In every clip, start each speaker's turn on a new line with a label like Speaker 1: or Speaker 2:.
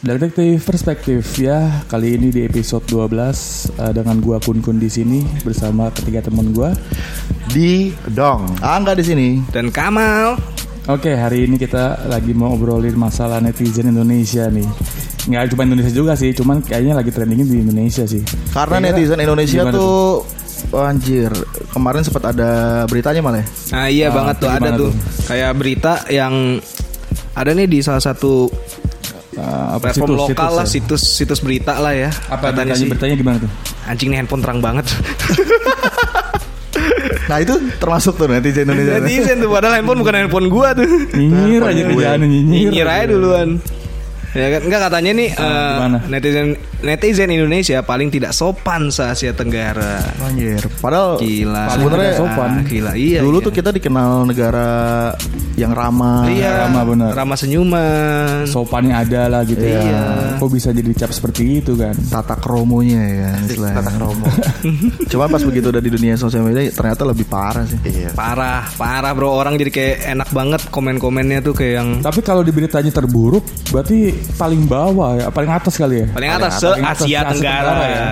Speaker 1: Detektif Perspektif ya kali ini di episode 12 eh, dengan gua Kun Kun di sini bersama ketiga teman gua.
Speaker 2: di Dong. Angga di sini.
Speaker 3: dan Kamal.
Speaker 1: Oke hari ini kita lagi mau obrolin masalah netizen Indonesia nih. Nggak cuma Indonesia juga sih, cuman kayaknya lagi trendingnya di Indonesia sih.
Speaker 2: Karena
Speaker 1: Kira-kira
Speaker 2: netizen Indonesia
Speaker 1: gimana
Speaker 2: tuh, oh, anjir. Kemarin sempat ada beritanya malah. ya.
Speaker 3: Nah iya
Speaker 1: Ah,
Speaker 3: banget tuh
Speaker 1: itu
Speaker 3: ada
Speaker 1: gimana
Speaker 3: tuh.
Speaker 1: tuh?
Speaker 3: kayak berita yang ada nih di salah satu
Speaker 1: Eh, apa, situs,
Speaker 3: platform lokal
Speaker 1: situs
Speaker 3: lah
Speaker 1: ya?
Speaker 3: situs situs berita lah ya.
Speaker 1: Apa beritanya,
Speaker 3: Katanya sih
Speaker 1: beritanya gimana tuh?
Speaker 3: anjing nih handphone terang banget.
Speaker 2: Nah itu termasuk tuh netizen Indonesia.
Speaker 3: Netizen tuh padahal handphone bukan handphone gua tuh.
Speaker 1: Nyinyir aja
Speaker 2: gue.
Speaker 1: kerjaan nyinyir. Ah,
Speaker 3: Nyinyir aja duluan. Ya kan enggak katanya nih eh,
Speaker 1: gimana?
Speaker 3: netizen netizen Indonesia paling tidak sopan se Asia Tenggara.
Speaker 2: Anjir. Padahal
Speaker 3: Gila.
Speaker 2: sebenarnya
Speaker 1: Paling tidak sopan.
Speaker 3: Ah, Gila. Iya.
Speaker 2: dulu
Speaker 3: iya.
Speaker 2: tuh kita dikenal negara yang ramah.
Speaker 3: Iya.
Speaker 1: Ramah bener.
Speaker 3: Ramah senyuman.
Speaker 1: Sopannya ada lah gitu
Speaker 3: Iya.
Speaker 1: ya. Kok bisa jadi dicap seperti itu kan?
Speaker 2: Tata kromonya ya kan istilahnya. Cuman pas begitu udah di dunia sosial media ternyata lebih parah sih. Iya.
Speaker 3: Parah, parah bro orang jadi kayak enak banget komen-komennya tuh kayak yang
Speaker 1: Tapi kalau di beritanya terburuk, berarti paling bawah ya, paling atas kali ya.
Speaker 3: paling atas se
Speaker 1: paling atas,
Speaker 3: Asia
Speaker 1: se-Asia
Speaker 3: Tenggara.
Speaker 1: Tenggara ya.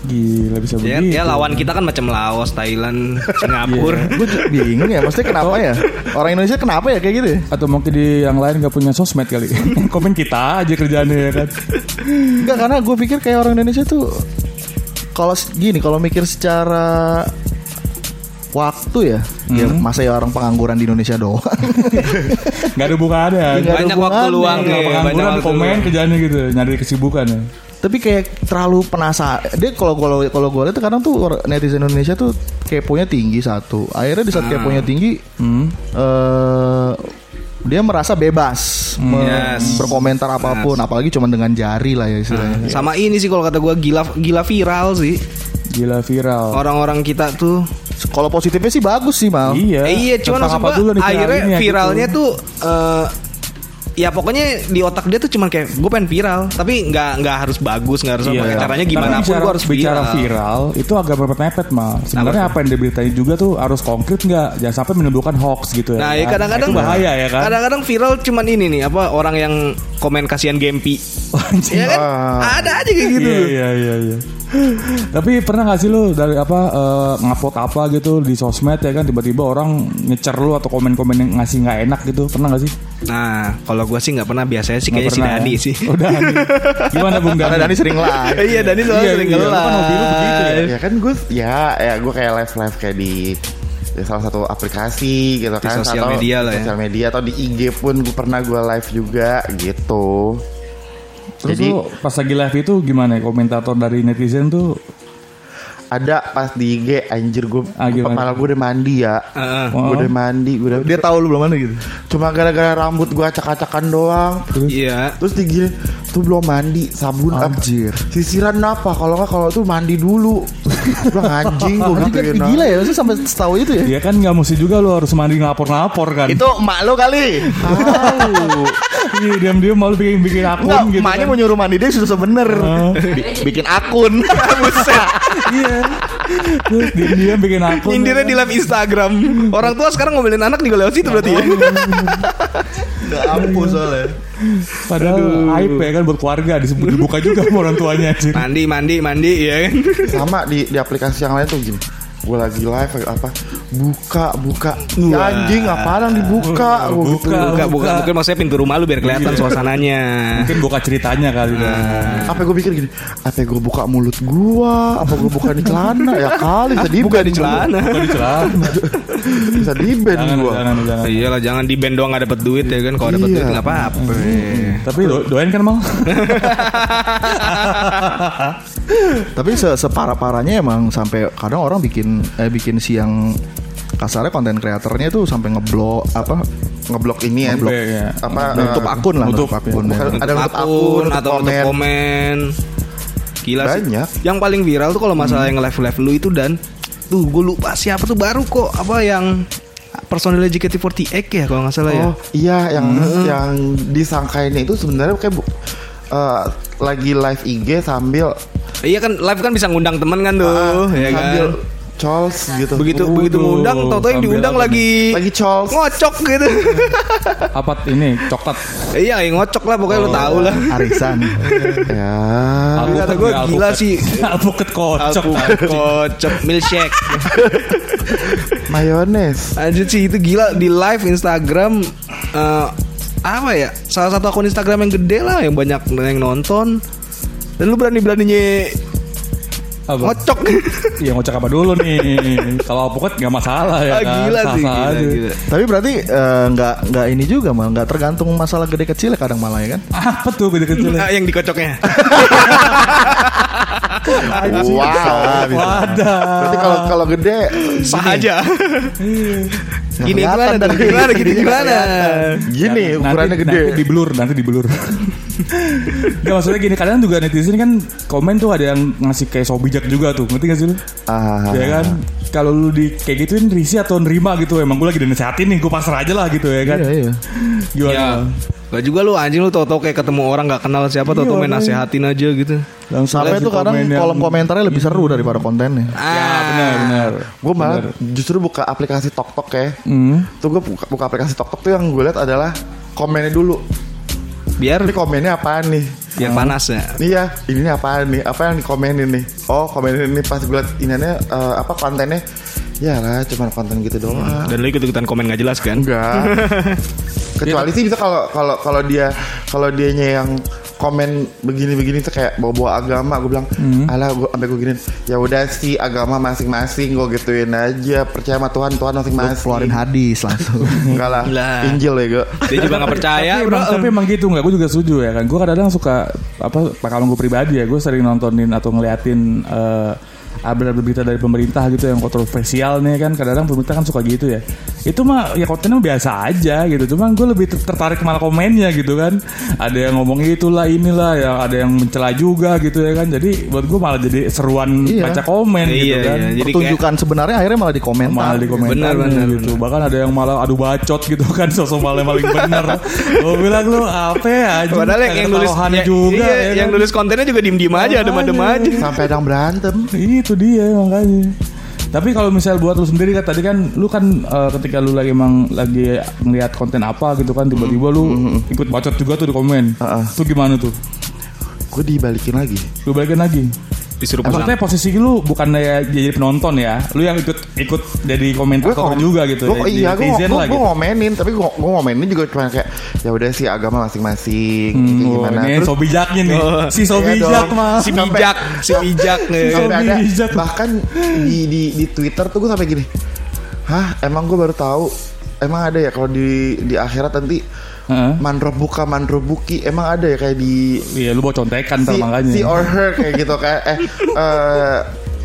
Speaker 1: Gila bisa
Speaker 3: Ya,
Speaker 1: begitu.
Speaker 3: ya lawan kita kan macam Laos, Thailand,
Speaker 1: Iya.
Speaker 3: Singapura.
Speaker 2: Gue bingung ya, maksudnya kenapa ya? Orang Indonesia kenapa ya kayak gitu ya?
Speaker 1: Atau mungkin di yang lain gak punya sosmed kali. Komen kita aja kerjaannya ya kan.
Speaker 2: Enggak karena gue pikir kayak orang Indonesia tuh kalau s- gini kalau mikir secara waktu ya, ya
Speaker 1: Hmm.
Speaker 2: masa ya orang pengangguran di Indonesia doang.
Speaker 1: Gak ada bukaannya.
Speaker 2: Nggak ada
Speaker 3: banyak waktu
Speaker 2: hubungannya.
Speaker 1: Kalau
Speaker 3: luang nih, Iya, banyak
Speaker 1: pengangguran
Speaker 3: waktu
Speaker 1: komen
Speaker 3: luang.
Speaker 1: kerjaannya gitu, nyari kesibukan ya.
Speaker 2: Tapi kayak terlalu penasaran. Dia kalau kalau kalau gue lihat kadang tuh or- netizen Indonesia tuh keponya tinggi satu. Akhirnya di saat keponya tinggi
Speaker 1: Ah. Hmm.
Speaker 2: eh dia merasa bebas
Speaker 1: Hmm.
Speaker 2: me-
Speaker 3: Yes.
Speaker 2: berkomentar apapun, apalagi cuma dengan jari lah ya
Speaker 1: Ah.
Speaker 2: istilahnya.
Speaker 3: Sama ini sih kalau kata gua gila gila viral sih.
Speaker 1: Gila viral.
Speaker 3: Orang-orang kita tuh
Speaker 2: Kalau positifnya sih bagus sih mal.
Speaker 1: Iya.
Speaker 3: Eh, iya cuman
Speaker 1: Tentang
Speaker 3: maksud
Speaker 1: apa
Speaker 3: gua,
Speaker 1: dulu nih
Speaker 3: akhirnya
Speaker 1: viralinnya gitu.
Speaker 3: viralnya tuh eh, ya pokoknya di otak dia tuh cuman kayak gue pengen viral tapi nggak nggak harus bagus nggak harus
Speaker 1: Iya.
Speaker 3: apa ya? caranya
Speaker 1: Tapi
Speaker 3: gimana pun
Speaker 1: bicara-
Speaker 3: gue harus
Speaker 1: bicara viral itu agak berpepet-pepet mal. Sebenarnya apa yang diberitain juga tuh harus konkret nggak, jangan sampai menimbulkan hoax gitu ya.
Speaker 3: Nah,
Speaker 1: kan?
Speaker 3: ya kadang-kadang
Speaker 1: Itu bahaya ya kan.
Speaker 3: Kadang-kadang viral cuman ini nih apa orang yang komen kasihan Gempi.
Speaker 1: Anjing.
Speaker 3: ya kan?
Speaker 2: Ah.
Speaker 3: Ada aja kayak gitu.
Speaker 1: Iya iya iya. iya. Tapi pernah gak sih lu dari apa eh, ngupload apa gitu di sosmed ya kan tiba-tiba orang ngecer lu atau komen-komen yang ngasih nggak enak gitu pernah gak sih?
Speaker 3: Nah, kalau gua sih nggak pernah biasanya sih
Speaker 1: Nggak
Speaker 3: kayaknya si
Speaker 1: pernah,
Speaker 3: Dani
Speaker 1: ya?
Speaker 3: sih.
Speaker 1: Oh, Dani. Gimana Bung Dani?
Speaker 2: Karena Dani sering lah.
Speaker 3: Eh, iya, Dani soalnya
Speaker 1: Iya,
Speaker 3: sering
Speaker 1: iya. Lu kan hobi lu begitu ya?
Speaker 3: ngelag.
Speaker 4: ya kan gue ya ya gue kayak live live kayak di di salah satu aplikasi gitu kan
Speaker 3: sosial
Speaker 4: atau
Speaker 3: media lah ya.
Speaker 4: sosial media atau di IG pun gue pernah gue live juga gitu
Speaker 1: Terus
Speaker 4: Jadi-
Speaker 1: lu pas lagi live itu gimana ya komentator dari netizen tuh
Speaker 4: ada pas di IG anjir gue
Speaker 1: Ah, gimana?
Speaker 4: kepala gue udah mandi ya
Speaker 3: Heeh.
Speaker 1: oh,
Speaker 4: gue udah mandi gue udah
Speaker 2: Dia tahu lu belum mana gitu.
Speaker 4: cuma gara-gara rambut gue acak-acakan doang
Speaker 3: Iya.
Speaker 4: terus digini tuh belum mandi sabun apa?
Speaker 2: Anjir.
Speaker 4: sisiran apa kalau nggak kalau tuh mandi dulu bilang gitu. anjing gue
Speaker 2: Anjing kan
Speaker 4: gituin
Speaker 2: gila ya, maksudnya sampai setahu itu ya.
Speaker 1: ya kan nggak mesti juga lu harus mandi ngapor-ngapor kan.
Speaker 4: itu emak lo kali
Speaker 2: Gitu
Speaker 1: Iya, diam-diam malu bikin bikin
Speaker 2: Enggak,
Speaker 1: akun gitu.
Speaker 2: emaknya
Speaker 1: kan.
Speaker 2: mau nyuruh mandi dia susah bener.
Speaker 1: Ah.
Speaker 4: Bi- bikin akun
Speaker 1: Iya. Terus diam-diam bikin akun. gitu kan.
Speaker 3: Nyindirnya di live Instagram. Orang tua sekarang ngomelin anak juga lewat situ berarti
Speaker 1: Iya,
Speaker 3: ya.
Speaker 2: Udah ampuh soalnya.
Speaker 1: Padahal aib ya kan buat keluarga disebut dibuka juga sama orang tuanya anjir.
Speaker 3: mandi, mandi, mandi ya kan.
Speaker 4: sama di di aplikasi yang lain tuh gini gue lagi live lagi apa buka buka ya
Speaker 3: Wah.
Speaker 4: anjing apaan yang dibuka
Speaker 1: Buka.
Speaker 4: Gua
Speaker 1: Iya.
Speaker 4: gitu.
Speaker 3: Buka, buka. Mungkin maksudnya pintu rumah lu biar kelihatan suasananya.
Speaker 1: Mungkin buka ceritanya kali kan.
Speaker 3: Nah.
Speaker 4: apa gue pikir gini apa gue buka mulut gua apa gue buka di celana ya kali bisa di
Speaker 3: Buka di celana.
Speaker 1: Bukan di celana.
Speaker 4: bisa di band
Speaker 1: Jangan,
Speaker 4: gue
Speaker 1: jangan, jangan.
Speaker 3: Iyalah jangan di band doang gak dapet duit ya kan Kalau dapet
Speaker 4: Iya.
Speaker 3: duit gak apa-apa
Speaker 1: Tapi do- doain kan mal?
Speaker 2: Tapi se separah parahnya emang sampai kadang orang bikin eh, bikin siang kasarnya konten kreatornya tuh sampai ngeblok apa
Speaker 4: ngeblok ini ya
Speaker 1: Ngeblok, ya.
Speaker 4: apa
Speaker 2: nutup
Speaker 4: eh,
Speaker 2: akun lah
Speaker 1: nutup.
Speaker 2: nutup akun.
Speaker 4: bukan,
Speaker 2: Ya.
Speaker 4: ada nutup akun
Speaker 3: akun atau
Speaker 4: nutup
Speaker 3: untuk
Speaker 4: komen
Speaker 3: komen. Gila
Speaker 4: Banyak.
Speaker 3: sih. Yang paling viral tuh kalau masalah yang live-live lu itu dan tuh gue lupa siapa tuh baru kok apa yang personil JKT48 ya kalau nggak salah ya. Hmm.
Speaker 4: Oh iya yang yang disangkainnya itu sebenarnya kayak bu- eh, lagi live IG sambil eh,
Speaker 3: Iya kan live kan bisa ngundang temen kan tuh, ya kan.
Speaker 4: Ah, sambil Charles gitu.
Speaker 3: begitu
Speaker 1: Waduh,
Speaker 3: begitu ngundang tau-tau
Speaker 1: sambil
Speaker 3: yang diundang
Speaker 1: apa
Speaker 3: lagi
Speaker 4: Lagi Charles.
Speaker 3: ngocok gitu
Speaker 1: apa ini coklat
Speaker 3: iya yang ngocok lah pokoknya lo
Speaker 4: Oh,
Speaker 3: tau lah
Speaker 2: Arisan.
Speaker 4: Ya.
Speaker 1: Alpukat
Speaker 3: kata gue
Speaker 1: ya, alpukat.
Speaker 3: gila sih
Speaker 1: alpukat kocok
Speaker 3: Aku kocok milkshake
Speaker 4: Mayones.
Speaker 3: Anjir sih itu gila di live Instagram eh, apa ya? Salah satu akun Instagram yang gede lah yang banyak yang nonton. Dan lu berani-beraninya
Speaker 1: apa?
Speaker 3: ngocok.
Speaker 1: ya ngocok apa dulu nih kalau alpukat nggak masalah ya
Speaker 3: Ah,
Speaker 1: kan?
Speaker 3: gila sih
Speaker 1: Sah-sah
Speaker 3: gila,
Speaker 1: aja.
Speaker 3: gila.
Speaker 2: Tapi berarti eh, nggak nggak ini juga mal, nggak tergantung masalah gede kecil kadang malah ya kan.
Speaker 1: apa tuh gede kecil
Speaker 3: Ah, yang dikocoknya.
Speaker 4: Wah, bisa.
Speaker 1: wadah
Speaker 4: Berarti kalau kalau gede
Speaker 3: Sah aja. Gini
Speaker 2: Nggak
Speaker 3: gimana
Speaker 2: kelihatan
Speaker 3: tadi?
Speaker 2: dari-
Speaker 3: Gimana gini
Speaker 2: Nggak
Speaker 3: gimana?
Speaker 4: gini
Speaker 1: Nanti-
Speaker 4: ukurannya
Speaker 1: nanti-
Speaker 4: gede.
Speaker 1: nanti di blur nanti di blur Gak maksudnya gini kadang juga netizen kan komen tuh ada yang ngasih kayak so bijak juga tuh ngerti gak sih lu
Speaker 4: Ah,
Speaker 1: ya kan kalau lu di kayak gituin risih atau nerima gitu emang gue lagi dinasihatin nih gue pasrah aja lah gitu ya kan
Speaker 2: Iya iya.
Speaker 1: gimana
Speaker 3: Ya. Gak juga lu anjing lu tau-tau kayak ketemu orang gak kenal siapa tau-tau main nasehatin aja gitu.
Speaker 1: langsung
Speaker 2: Sampai
Speaker 1: aja
Speaker 2: tuh kadang
Speaker 1: komen yang-
Speaker 2: kolom komentarnya lebih seru daripada kontennya.
Speaker 1: ya
Speaker 3: Ah,
Speaker 4: Ah.
Speaker 1: benar benar
Speaker 4: gue malah justru buka aplikasi TokTok ya.
Speaker 1: Hmm.
Speaker 4: Tuh gue buka, buka aplikasi TokTok tuh yang gue lihat adalah komennya dulu.
Speaker 3: Biar
Speaker 4: Ini komennya apaan nih?
Speaker 3: biar panas ya.
Speaker 4: Iya, ini apaan nih? Apa yang dikomenin nih? Oh, komenin nih pas gue liat iniannya eh, apa kontennya? Ya lah, cuma konten gitu doang.
Speaker 3: Dan lu ikut-ikutan komen gak jelas kan?
Speaker 4: Enggak. Kecuali sih bisa kalau kalau kalau dia kalau dianya yang komen begini-begini tuh kayak bawa-bawa agama gue bilang alah gue sampai gue giniin ya udah sih agama masing-masing gue gituin aja percaya sama Tuhan Tuhan masing-masing
Speaker 2: Keluarin hadis langsung.
Speaker 4: enggak lah
Speaker 3: Lah.
Speaker 4: Injil ya gue
Speaker 3: Dia juga gak percaya
Speaker 1: tapi,
Speaker 3: bro.
Speaker 1: emang, tapi emang gitu nggak? Gue juga setuju ya kan. Gue kadang-kadang suka apa? Kalau gue pribadi ya, gue sering nontonin atau ngeliatin eh update berita dari pemerintah gitu yang kontroversial nih kan. Kadang-kadang pemerintah kan suka gitu ya. Itu mah ya kontennya biasa aja gitu. Cuman gue lebih ter- tertarik malah komennya gitu kan. Ada yang ngomong itulah inilah, ya ada yang mencela juga gitu ya kan. Jadi buat gue malah jadi seruan
Speaker 2: Iya.
Speaker 1: baca komen gitu
Speaker 3: Iya,
Speaker 1: kan.
Speaker 3: iya. Jadi kayak-
Speaker 2: Pertunjukan sebenarnya akhirnya malah di komentar.
Speaker 1: Malah di komentar
Speaker 3: Benar, benar,
Speaker 1: gitu. Bahkan ada yang malah adu bacot gitu kan sosok malah yang paling bener. Gue bilang lu apa ya? anjing?
Speaker 3: Padahal yang, yang
Speaker 1: Kagak
Speaker 3: nulis
Speaker 1: ketahuan
Speaker 3: ya,
Speaker 1: juga
Speaker 3: iya,
Speaker 1: ya
Speaker 3: yang
Speaker 1: kan?
Speaker 3: nulis kontennya juga diem-diem aja,
Speaker 1: Makanya.
Speaker 3: adem-adem aja.
Speaker 4: sampai ada yang berantem
Speaker 1: Itu dia makanya. Tapi kalau misal buat lu sendiri kan tadi kan lu kan eh, ketika lu lagi emang lagi ngeliat konten apa gitu kan tiba-tiba lu
Speaker 3: Mm-hmm,
Speaker 1: ikut bacot juga tuh di komen.
Speaker 4: Heeh.
Speaker 1: Tuh gimana tuh?
Speaker 4: gue dibalikin lagi
Speaker 1: Lu balikin lagi.
Speaker 3: Disuruh pulang.
Speaker 1: Maksudnya posisi lu bukan ya jadi penonton ya. Lu yang ikut ikut jadi komentator
Speaker 4: kom-
Speaker 1: juga gitu. jadi
Speaker 4: gua, iya gue
Speaker 1: netizen lah gitu.
Speaker 4: ngomenin tapi gue ngomenin juga cuma kayak ya udah sih agama masing-masing gitu
Speaker 1: Oh,
Speaker 4: gimana
Speaker 1: ini so bijaknya nih.
Speaker 3: Oh.
Speaker 1: Si so
Speaker 4: Iya
Speaker 1: bijak
Speaker 4: dong.
Speaker 1: mah.
Speaker 3: si bijak, si bijak. ya.
Speaker 1: Sampai
Speaker 4: sampai ada
Speaker 1: bijak.
Speaker 4: bahkan di di di Twitter tuh gue sampai gini hah emang gue baru tahu emang ada ya kalau di di akhirat nanti
Speaker 1: Heeh.
Speaker 4: mandrop buka mandrop buki emang ada ya kayak di
Speaker 1: Iya, lu mau contekan ntar
Speaker 4: si,
Speaker 1: makanya.
Speaker 4: si or her kayak gitu kan eh eh,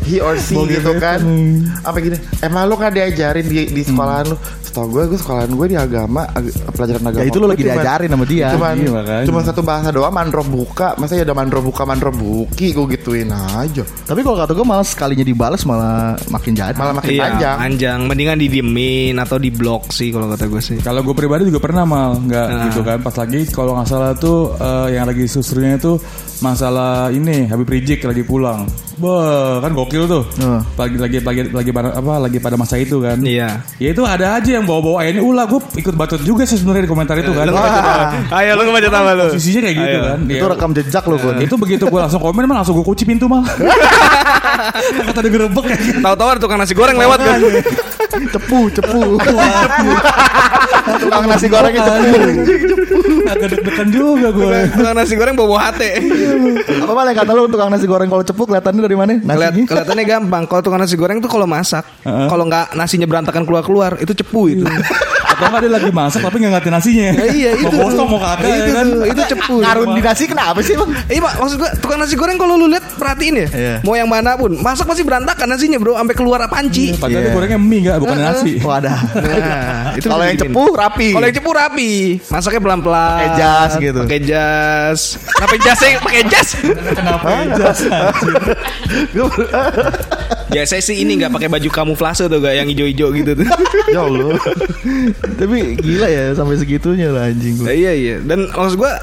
Speaker 4: he or she
Speaker 1: Bogey
Speaker 4: gitu
Speaker 1: Beton.
Speaker 4: kan apa gini emang lu kan diajarin di di sekolahan lu setahu gue gue sekolahan gue di agama ag- pelajaran agama
Speaker 2: Hmm. Ya itu lu
Speaker 4: gue
Speaker 2: lagi
Speaker 4: cuman-
Speaker 2: diajarin sama dia.
Speaker 4: cuman
Speaker 1: iya, makanya.
Speaker 4: cuman satu bahasa doang mandrop buka masa ya ada mandrop buka mandrop buki gue gituin aja
Speaker 2: Tapi kalau kata gue malah sekalinya dibales malah makin jadi.
Speaker 4: malah makin
Speaker 3: Iya,
Speaker 4: panjang
Speaker 3: anjang. Mendingan didiemin atau di blok sih kalau kata gue sih.
Speaker 1: Kalau gue pribadi juga pernah mal nggak
Speaker 3: Nah.
Speaker 1: gitu kan. Pas lagi kalau nggak salah tuh eh, yang lagi susrunya itu masalah ini Habib Rizik lagi pulang. Bah, kan gokil tuh.
Speaker 2: Heeh.
Speaker 1: Lagi lagi lagi lagi pada apa lagi pada masa itu kan.
Speaker 3: Iya.
Speaker 1: Ya itu ada aja yang bawa-bawa NU lah gue ikut bacot juga sih sebenarnya di komentar itu kan.
Speaker 3: Ayo lu ngebaca tambah lu.
Speaker 1: Posisinya kayak gitu
Speaker 3: Ayo.
Speaker 1: kan.
Speaker 2: Itu
Speaker 1: Ya,
Speaker 2: rekam jejak lo
Speaker 4: Iya.
Speaker 2: gue.
Speaker 1: itu begitu gue langsung komen mah langsung gue kunci pintu mah. Kata ada gerebek kayak gitu.
Speaker 3: Tahu-tahu ada tukang nasi goreng lewat kan.
Speaker 2: cepu cepu.
Speaker 4: tukang nasi goreng itu
Speaker 2: Iya.
Speaker 1: Agak deg-degan juga gue.
Speaker 3: tukang nasi goreng bawa hati.
Speaker 2: Apa malah yang kata lu tukang nasi goreng kalau cepu kelihatannya dari mana?
Speaker 3: Kelihat-
Speaker 2: Nasinya.
Speaker 3: kelihatannya gampang. Kalau tukang nasi goreng tuh kalau masak, kalau nggak nasinya berantakan keluar-keluar, itu cepu itu.
Speaker 1: Atau nggak dia lagi masak tapi nggak ngatin nasinya.
Speaker 3: iya, itu
Speaker 1: Mau
Speaker 3: tuh. Nah,
Speaker 1: kosong mau kagak
Speaker 3: Itu
Speaker 1: ya kan.
Speaker 3: tuh, itu cepu.
Speaker 2: Karun di nasi kenapa sih bang?
Speaker 3: Iya pak, maksud gua tukang nasi goreng kalau lu lihat perhatiin ya,
Speaker 2: Iya.
Speaker 3: mau yang mana pun masak pasti berantakan nasinya bro, sampai keluar panci.
Speaker 1: Padahal
Speaker 2: Iya.
Speaker 1: dia gorengnya mie nggak bukan nasi.
Speaker 2: Wadah.
Speaker 3: Nah, itu
Speaker 2: Kalau
Speaker 3: bisa
Speaker 2: yang
Speaker 3: dibikin.
Speaker 2: cepu rapi.
Speaker 3: Kalau yang cepu rapi, masaknya pelan-pelan.
Speaker 2: Pakai jas gitu.
Speaker 3: Pakai jas. Kenapa jasnya pakai jas?
Speaker 1: Kenapa aja?
Speaker 3: ya saya sih ini nggak pakai baju kamuflase tuh gak yang hijau-hijau gitu tuh.
Speaker 4: ya Allah
Speaker 2: Tapi gila ya sampai segitunya lah anjing
Speaker 3: Nah,
Speaker 2: gue.
Speaker 3: iya iya. Dan maksud gua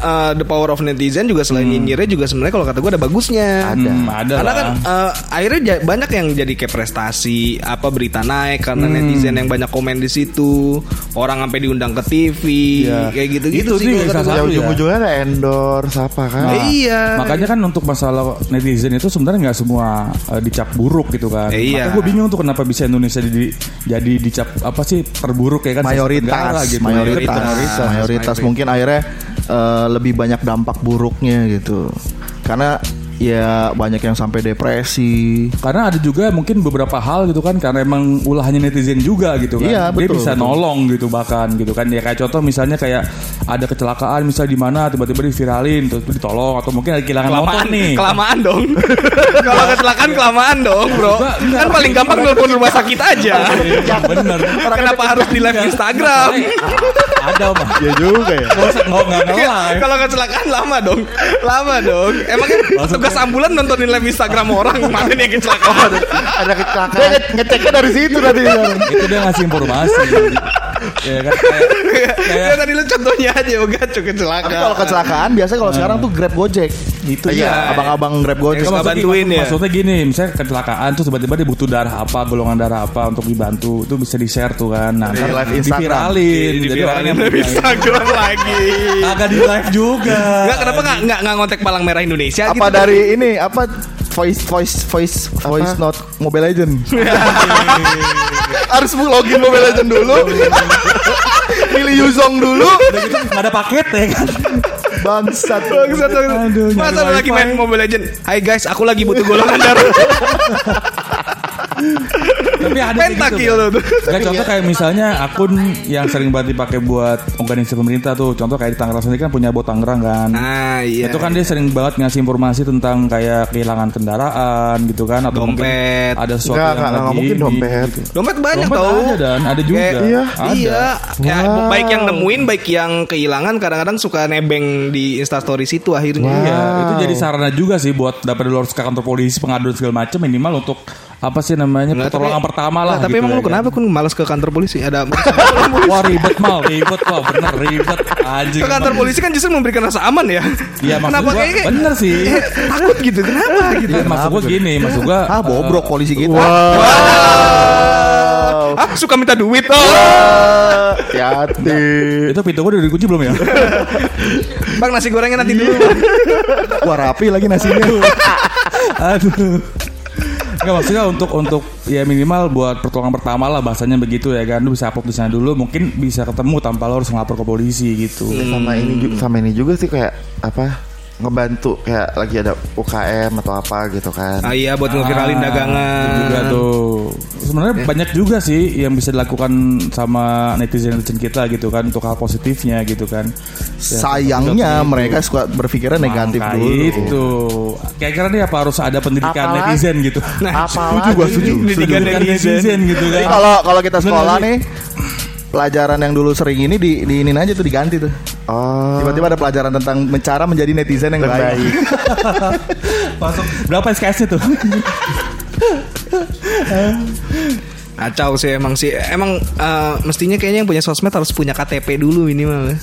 Speaker 3: eh, the power of netizen juga selain nyinyirnya juga sebenarnya kalau kata gue ada bagusnya.
Speaker 4: Ada.
Speaker 1: Hmm, ada
Speaker 3: Karena
Speaker 1: lah.
Speaker 3: kan eh, akhirnya ja- banyak yang jadi kayak prestasi apa berita naik karena
Speaker 1: Hmm.
Speaker 3: netizen yang banyak komen di situ orang sampai diundang ke TV
Speaker 1: Iya.
Speaker 3: kayak gitu gitu
Speaker 1: Itu sih yang salah
Speaker 4: Ya
Speaker 1: Satu ya.
Speaker 4: ujung-ujungnya ada endorse apa kan?
Speaker 3: Nah, iya.
Speaker 1: Makanya kan untuk masalah netizen itu sebenarnya nggak semua eh, dicap buruk gitu kan.
Speaker 3: Eh, iya.
Speaker 1: Makanya gue bingung tuh kenapa bisa Indonesia jadi, jadi dicap apa sih terburuk ya kan?
Speaker 2: mayoritas,
Speaker 1: Negara gitu.
Speaker 2: mayoritas, mayoritas,
Speaker 3: Mayoritas.
Speaker 2: mungkin akhirnya eh, lebih banyak dampak buruknya gitu. Karena ya banyak yang sampai depresi.
Speaker 1: Karena ada juga mungkin beberapa hal gitu kan karena emang ulahnya netizen juga gitu kan.
Speaker 2: Iya,
Speaker 1: Dia
Speaker 2: betul,
Speaker 1: bisa
Speaker 2: betul.
Speaker 1: nolong gitu bahkan gitu kan. Ya kayak contoh misalnya kayak ada kecelakaan misalnya di mana tiba-tiba diviralin terus ditolong atau mungkin ada kehilangan motor
Speaker 3: kelamaan
Speaker 1: nih.
Speaker 3: kelamaan dong kalau kecelakaan kelamaan dong bro
Speaker 1: Enggak, enggak.
Speaker 3: kan paling gampang nelpon rumah sakit aja
Speaker 1: Iya, bener.
Speaker 3: kenapa harus di live Instagram
Speaker 1: ada mah.
Speaker 4: Iya juga ya.
Speaker 1: Nggak usah- nggak nggak nge-live.
Speaker 3: kalau kecelakaan lama dong lama dong emangnya tugas ambulan nontonin live Instagram orang mana nih
Speaker 1: Oh,
Speaker 3: yang kecelakaan
Speaker 4: ada kecelakaan. ngeceknya dari situ tadi.
Speaker 1: itu dia ngasih informasi ya kan kayak,
Speaker 3: ya
Speaker 1: kayak
Speaker 3: tadi lu contohnya aja Yoga cuk kecelakaan
Speaker 2: Tapi kalau kecelakaan biasanya kalau sekarang tuh Grab Gojek. Itu
Speaker 4: Nah. Iya.
Speaker 2: ya abang-abang Grab Gojek.
Speaker 3: Yang suka
Speaker 1: maksudnya-
Speaker 3: bantuin ya?
Speaker 1: maksudnya gini misalnya kecelakaan terus tiba-tiba dia butuh darah apa golongan darah apa untuk dibantu itu bisa di share tuh kan nah,
Speaker 2: Di
Speaker 1: ntar
Speaker 2: live Instagram.
Speaker 3: Iya,
Speaker 1: diviralin jadi orang
Speaker 3: Diviralin
Speaker 1: yang
Speaker 3: live Instagram lagi
Speaker 1: agak di live juga
Speaker 3: Enggak kenapa enggak enggak ngontek palang merah Indonesia
Speaker 2: apa
Speaker 3: gitu?
Speaker 2: dari ini apa voice voice voice voice not Mobile Legend. Harus login Mobile Legend dulu. Pilih Yuzong dulu.
Speaker 1: udah gitu nggak ada paket ya kan
Speaker 2: Bangsat.
Speaker 3: Bangsat, bangsat.
Speaker 1: Aduh, nyari
Speaker 3: Masa lu lagi
Speaker 1: wifi.
Speaker 3: main Mobile Legend? Hai guys, aku lagi butuh golongan darah.
Speaker 1: tapi ada kayak gitu.
Speaker 3: Pentakil lu tuh.
Speaker 1: Nggak, contoh
Speaker 3: ya.
Speaker 1: kayak misalnya akun yang sering banget dipakai buat organisasi pemerintah tuh contoh kayak di Tangerang sendiri kan punya bot Tangerang kan
Speaker 3: Nah, iya.
Speaker 1: itu kan dia sering banget ngasih informasi tentang kayak kehilangan kendaraan gitu kan atau
Speaker 3: Dompet.
Speaker 1: mungkin ada sesuatu
Speaker 4: Enggak,
Speaker 1: yang
Speaker 4: enggak,
Speaker 1: lagi
Speaker 4: enggak mungkin
Speaker 1: ini,
Speaker 4: dompet.
Speaker 1: gitu.
Speaker 3: dompet banyak
Speaker 1: Dompet
Speaker 3: tau.
Speaker 1: ada, Dan. Ada juga.
Speaker 3: Kayak-
Speaker 1: Iya.
Speaker 3: Ada. Iya. Ya,
Speaker 4: Wow.
Speaker 3: baik yang nemuin, baik yang kehilangan kadang-kadang suka nebeng di Instastory situ akhirnya.
Speaker 1: Iya, itu jadi sarana juga sih buat dapat di luar ke kantor polisi pengaduan segala macam minimal untuk apa sih namanya
Speaker 3: Nggak,
Speaker 1: pertolongan
Speaker 3: tapi-
Speaker 1: pertama lah.
Speaker 3: Nah, tapi
Speaker 1: gitu
Speaker 3: emang
Speaker 1: ya
Speaker 3: lu
Speaker 1: kan.
Speaker 3: kenapa kun malas ke kantor polisi? Ada
Speaker 1: Wah ribet mal, ribet wah bener ribet anjing.
Speaker 3: ke kantor polisi kan justru memberikan rasa aman ya.
Speaker 1: Iya maksud
Speaker 3: kenapa
Speaker 1: gua
Speaker 3: kayaknya
Speaker 1: bener sih.
Speaker 3: takut gitu? Kenapa gitu?
Speaker 1: Iya, maksud gua gini, maksud gua
Speaker 2: Ah bobrok
Speaker 1: eh,
Speaker 2: polisi kita.
Speaker 3: Ah, suka minta duit oh.
Speaker 4: Hati-hati.
Speaker 1: itu pintu gua udah dikunci belum ya?
Speaker 3: Bang nasi gorengnya nanti dulu. Bang.
Speaker 2: Wah rapi lagi nasinya.
Speaker 1: Aduh. Enggak maksudnya untuk untuk ya minimal buat pertolongan pertama lah bahasanya begitu ya kan. Lu bisa upload di sana dulu mungkin bisa ketemu tanpa lo harus ngelapor ke polisi gitu.
Speaker 4: sama ini ju- sama ini juga sih kayak apa ngebantu kayak lagi ada UKM atau apa gitu kan.
Speaker 3: Ah iya buat ngeviralin
Speaker 1: Ah,
Speaker 3: dagangan. Eh.
Speaker 1: itu juga tuh. Sebenarnya banyak juga sih yang bisa dilakukan sama netizen-netizen kita gitu kan untuk hal positifnya gitu kan. Ya,
Speaker 2: Sayangnya mereka suka berpikirnya negatif
Speaker 1: Maka
Speaker 2: dulu.
Speaker 1: Nah, itu. Kira-kira nih apa harus ada pendidikan
Speaker 4: Apalagi-
Speaker 1: netizen gitu.
Speaker 4: Apalagi
Speaker 3: Nah, Pendidikan
Speaker 1: Pendidikan
Speaker 3: netizen. Iya.
Speaker 1: netizen gitu
Speaker 2: Jadi
Speaker 1: kan.
Speaker 2: kalau kalau kita sekolah nih pelajaran yang dulu sering ini di diinin aja tuh diganti tuh.
Speaker 4: Oh.
Speaker 2: Tiba-tiba ada pelajaran tentang cara menjadi netizen yang
Speaker 4: Yang
Speaker 2: baik.
Speaker 4: baik.
Speaker 1: Masuk berapa SKS-nya tuh?
Speaker 3: Kacau sih emang sih. Emang eh, mestinya kayaknya yang punya sosmed harus punya KTP dulu minimal.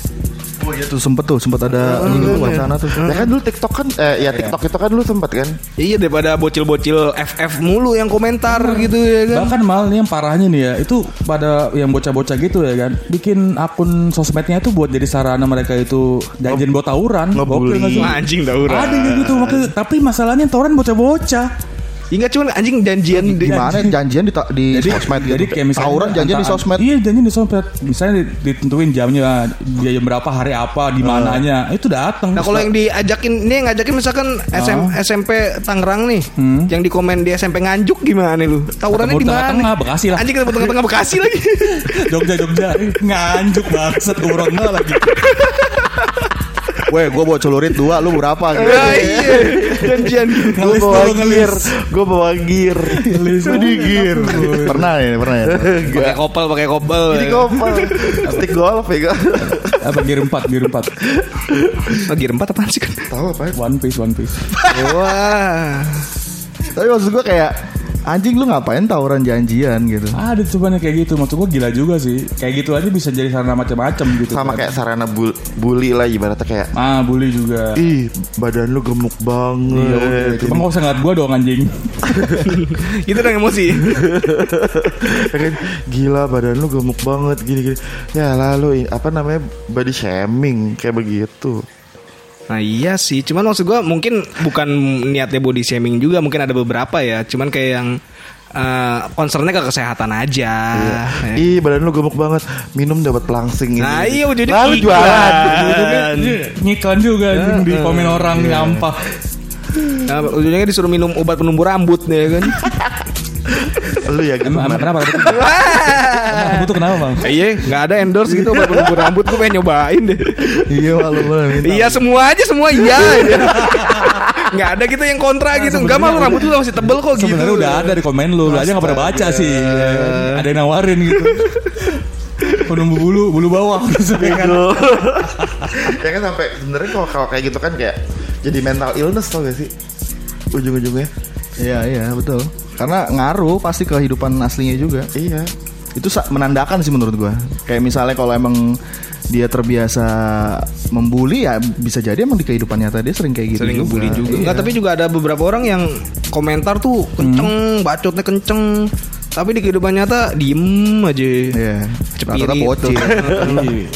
Speaker 2: Oh iya tuh sempet tuh sempet ada ini tuh wacana tuh. Iya.
Speaker 4: Ya kan dulu TikTok kan eh, ya TikTok itu kan dulu sempat kan.
Speaker 3: Iya daripada bocil-bocil FF mulu yang komentar gitu ya kan.
Speaker 1: Bahkan mal nih yang parahnya nih ya Itu pada yang bocah-bocah gitu ya kan Bikin akun sosmednya itu buat jadi sarana mereka itu Janjian buat tawuran Gokil
Speaker 4: ngebully.
Speaker 1: nggak sih?
Speaker 3: Wah, anjing tawuran.
Speaker 1: Ada yang gitu makanya- Tapi masalahnya tawuran bocah-bocah
Speaker 3: Ingat Iya, cuman anjing janjian di
Speaker 2: Gimana janjian di ta- di sosmed gitu.
Speaker 1: Jadi kayak misalnya
Speaker 2: Tawuran janjian di
Speaker 1: antara-
Speaker 2: sosmed.
Speaker 1: Iya janjian di sosmed Misalnya ditentuin jamnya dia Jam berapa, hari apa, di mananya Itu datang
Speaker 3: Nah kalau yang diajakin ini yang ngajakin misalkan SM, SMP Tangerang nih, yang di komen di SMP Nganjuk gimana nih lu? Tawurannya
Speaker 1: Ketemu
Speaker 3: di mana?
Speaker 1: tengah-tengah, Bekasi lah.
Speaker 3: Anjing ketemu tengah-tengah Bekasi lagi.
Speaker 1: Jogja-Jogja Nganjuk banget Kurangnya lagi
Speaker 2: Weh, gue bawa celurit dua, lu berapa? Gitu.
Speaker 3: ya iya, janjian.
Speaker 4: Gue
Speaker 1: Ngelis
Speaker 4: bawa
Speaker 1: dulu
Speaker 4: gear,
Speaker 1: ngelis
Speaker 4: gue bawa gear.
Speaker 1: Ngelis
Speaker 4: gear.
Speaker 2: Pernah ya, pernah ya.
Speaker 3: Pakai kopel, pakai kopel.
Speaker 4: Jadi gue stick golf ya kan.
Speaker 1: Apa gear 4 Gear 4
Speaker 3: Oh, gear 4 apaan sih kan?
Speaker 4: Tahu apa?
Speaker 1: One Piece One Piece
Speaker 3: Wah.
Speaker 2: Tapi maksud gue kayak anjing lu ngapain tawuran janjian gitu
Speaker 1: Ada cobanya kayak gitu, maksud gue gila juga sih. Kayak gitu aja bisa jadi sarana macam-macam gitu.
Speaker 4: sama
Speaker 1: kan.
Speaker 4: kayak sarana bul bully lah ibaratnya kayak
Speaker 1: Ah, bully juga.
Speaker 4: ih badan lu gemuk
Speaker 1: Iya, udah.
Speaker 4: banget
Speaker 1: Cuma nggak usah ngeliat gue dong anjing.
Speaker 3: Itu dong emosi.
Speaker 4: Kan, gila badan lu gemuk banget gini gini ya lalu apa namanya body shaming kayak begitu
Speaker 3: Nah iya sih, cuman maksud gua mungkin bukan niatnya body shaming juga, mungkin ada beberapa ya. Cuman kayak yang eh concernnya ke kesehatan aja. Ya.
Speaker 4: ih badan lu gemuk banget minum dapat pelangsing
Speaker 3: Nah
Speaker 4: ini.
Speaker 3: iya ujungnya
Speaker 4: lalu
Speaker 3: iklan.
Speaker 4: jualan
Speaker 1: Iya, Ngiklan juga anjing di komen orang nyampah.
Speaker 3: Nah, ujungnya disuruh minum obat penumbuh rambut nih kan.
Speaker 4: lu ya gitu
Speaker 1: Emang emang kenapa? Kamu tuh kenapa bang?
Speaker 3: Iya, nggak ada endorse gitu obat penumbuh rambut. Gue pengen nyobain deh.
Speaker 2: iya malu banget minta.
Speaker 3: Iya semua aja semua iya. iya. Nggak ada gitu yang kontra gitu. Enggak malu rambut lu masih tebel kok gitu.
Speaker 1: Sebenarnya udah ada di komen lu, lu aja nggak pernah baca sih. Ada yang nawarin gitu. Penumbuh bulu, bulu bawah.
Speaker 4: Bego. ya kan sampai sebenarnya kalau kalau kayak gitu kan kayak jadi mental illness tau gak sih ujung-ujungnya
Speaker 2: iya iya betul karena ngaruh pasti ke kehidupan aslinya juga
Speaker 4: iya
Speaker 2: itu sa- menandakan sih menurut gua kayak misalnya kalau emang dia terbiasa membuli ya bisa jadi emang di kehidupan nyata dia sering kayak gitu
Speaker 3: Sering ngebully
Speaker 1: Nah,
Speaker 3: juga.
Speaker 2: Iya.
Speaker 3: Nggak, tapi juga ada beberapa orang yang komentar tuh kenceng, bacotnya kenceng. Tapi di kehidupan nyata diem aja.
Speaker 2: Iya.
Speaker 3: Cepirit.
Speaker 2: Rata-rata bocil.
Speaker 3: gitu.
Speaker 1: Iya.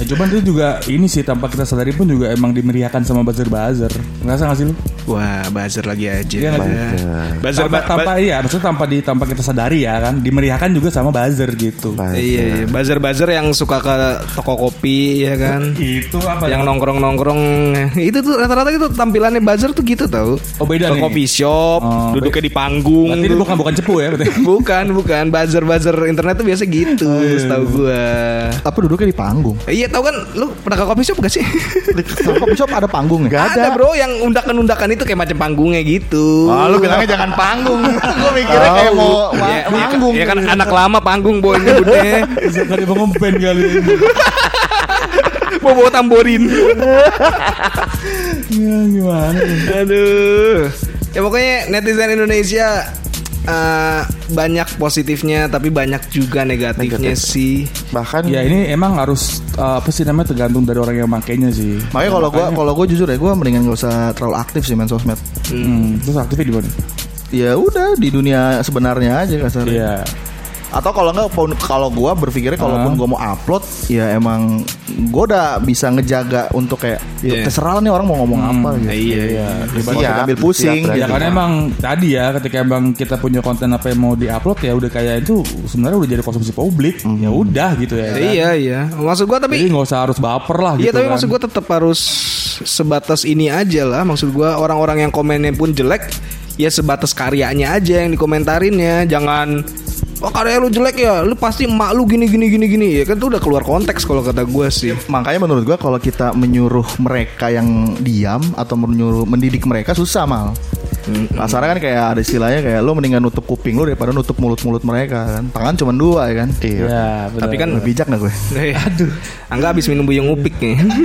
Speaker 1: Ya, cuman itu juga ini sih tanpa kita sadari pun juga emang dimeriahkan sama buzzer-buzzer. Ngerasa nggak sih lu?
Speaker 3: Wah, buzzer lagi aja.
Speaker 1: Iya nggak sih?
Speaker 3: Buzzer,
Speaker 1: tanpa,
Speaker 3: ba-
Speaker 1: tanpa
Speaker 3: ba-
Speaker 1: iya, maksudnya tanpa di tanpa kita sadari ya kan, dimeriahkan juga sama buzzer gitu.
Speaker 3: Iya, iya. buzzer-buzzer yang suka ke toko kopi ya kan.
Speaker 1: Itu Oh, iya. apa?
Speaker 3: yang nongkrong-nongkrong itu tuh rata-rata itu tampilannya buzzer tuh gitu tau
Speaker 1: Oh, beda
Speaker 3: Ke
Speaker 1: nih.
Speaker 3: coffee shop
Speaker 1: Oh,
Speaker 3: duduknya di panggung
Speaker 1: Berarti ini
Speaker 3: tuh.
Speaker 1: bukan bukan cepu ya, berarti.
Speaker 3: bukan bukan buzzer buzzer internet tuh biasa gitu
Speaker 1: Oh, iya,
Speaker 3: setahu gua
Speaker 2: Tapi duduknya di panggung.
Speaker 3: iya tau kan lu pernah ke coffee shop gak sih
Speaker 2: Kalau Coffee shop ada panggung ya?
Speaker 3: ada. bro yang undakan-undakan itu kayak macam panggungnya gitu
Speaker 4: Wah, lu bilangnya jangan panggung. Gue mikirnya kayak mau
Speaker 3: Ya, ya,
Speaker 4: wa- panggung.
Speaker 3: ya kan anak lama panggung boy nyebutnya
Speaker 1: Bisa kali mau ngempen kali.
Speaker 3: mau bawa tamborin
Speaker 1: Ya gimana?
Speaker 3: Aduh. Ya pokoknya netizen Indonesia eh, banyak positifnya tapi banyak juga negatifnya sih.
Speaker 4: Bahkan
Speaker 1: Ya ini emang harus eh, apa sih namanya tergantung dari orang yang makainya sih.
Speaker 2: Makanya kalau gua kalau gua jujur ya gua mendingan gak usah terlalu aktif sih main sosmed.
Speaker 1: Hmm, terus aktifnya di mana?
Speaker 2: Ya udah di dunia sebenarnya aja kasarnya.
Speaker 1: Iya.
Speaker 2: Atau kalau enggak pun- kalau gua berpikirnya
Speaker 1: Ah.
Speaker 2: kalaupun gua mau upload ya emang gua udah bisa ngejaga untuk kayak ya
Speaker 3: Iya.
Speaker 2: terserah lah nih orang mau ngomong apa gitu.
Speaker 3: iya iya.
Speaker 2: Mau
Speaker 4: Siap,
Speaker 2: ambil pusing.
Speaker 1: Ya
Speaker 2: gitu.
Speaker 4: siap, Iya.
Speaker 1: karena emang tadi ya ketika emang kita punya konten apa yang mau diupload ya udah kayak itu sebenarnya udah jadi konsumsi publik. Ya udah gitu ya. kan?
Speaker 3: Iya iya. Maksud gua
Speaker 1: Jadi
Speaker 3: tapi
Speaker 1: nggak usah harus baper lah gitu
Speaker 3: Iya tapi
Speaker 1: kan.
Speaker 3: maksud gua tetap harus sebatas ini aja lah. Maksud gua orang-orang yang komennya pun jelek ya sebatas karyanya aja yang dikomentarin ya. Jangan Oh karya lu jelek ya, lu pasti emak lu gini gini gini gini ya kan tuh udah keluar konteks kalau kata gua sih.
Speaker 2: Makanya menurut gua kalau kita menyuruh mereka yang diam atau menyuruh mendidik mereka susah mal. Kasarnya kan kayak ada istilahnya kayak lo mendingan nutup kuping lo daripada nutup mulut-mulut mereka kan. Tangan cuma dua ya kan.
Speaker 4: Iya.
Speaker 1: Ya, benar.
Speaker 3: Tapi kan
Speaker 2: Lebih bijak gak gue?
Speaker 3: Aduh, Angga habis minum buyung upik nih.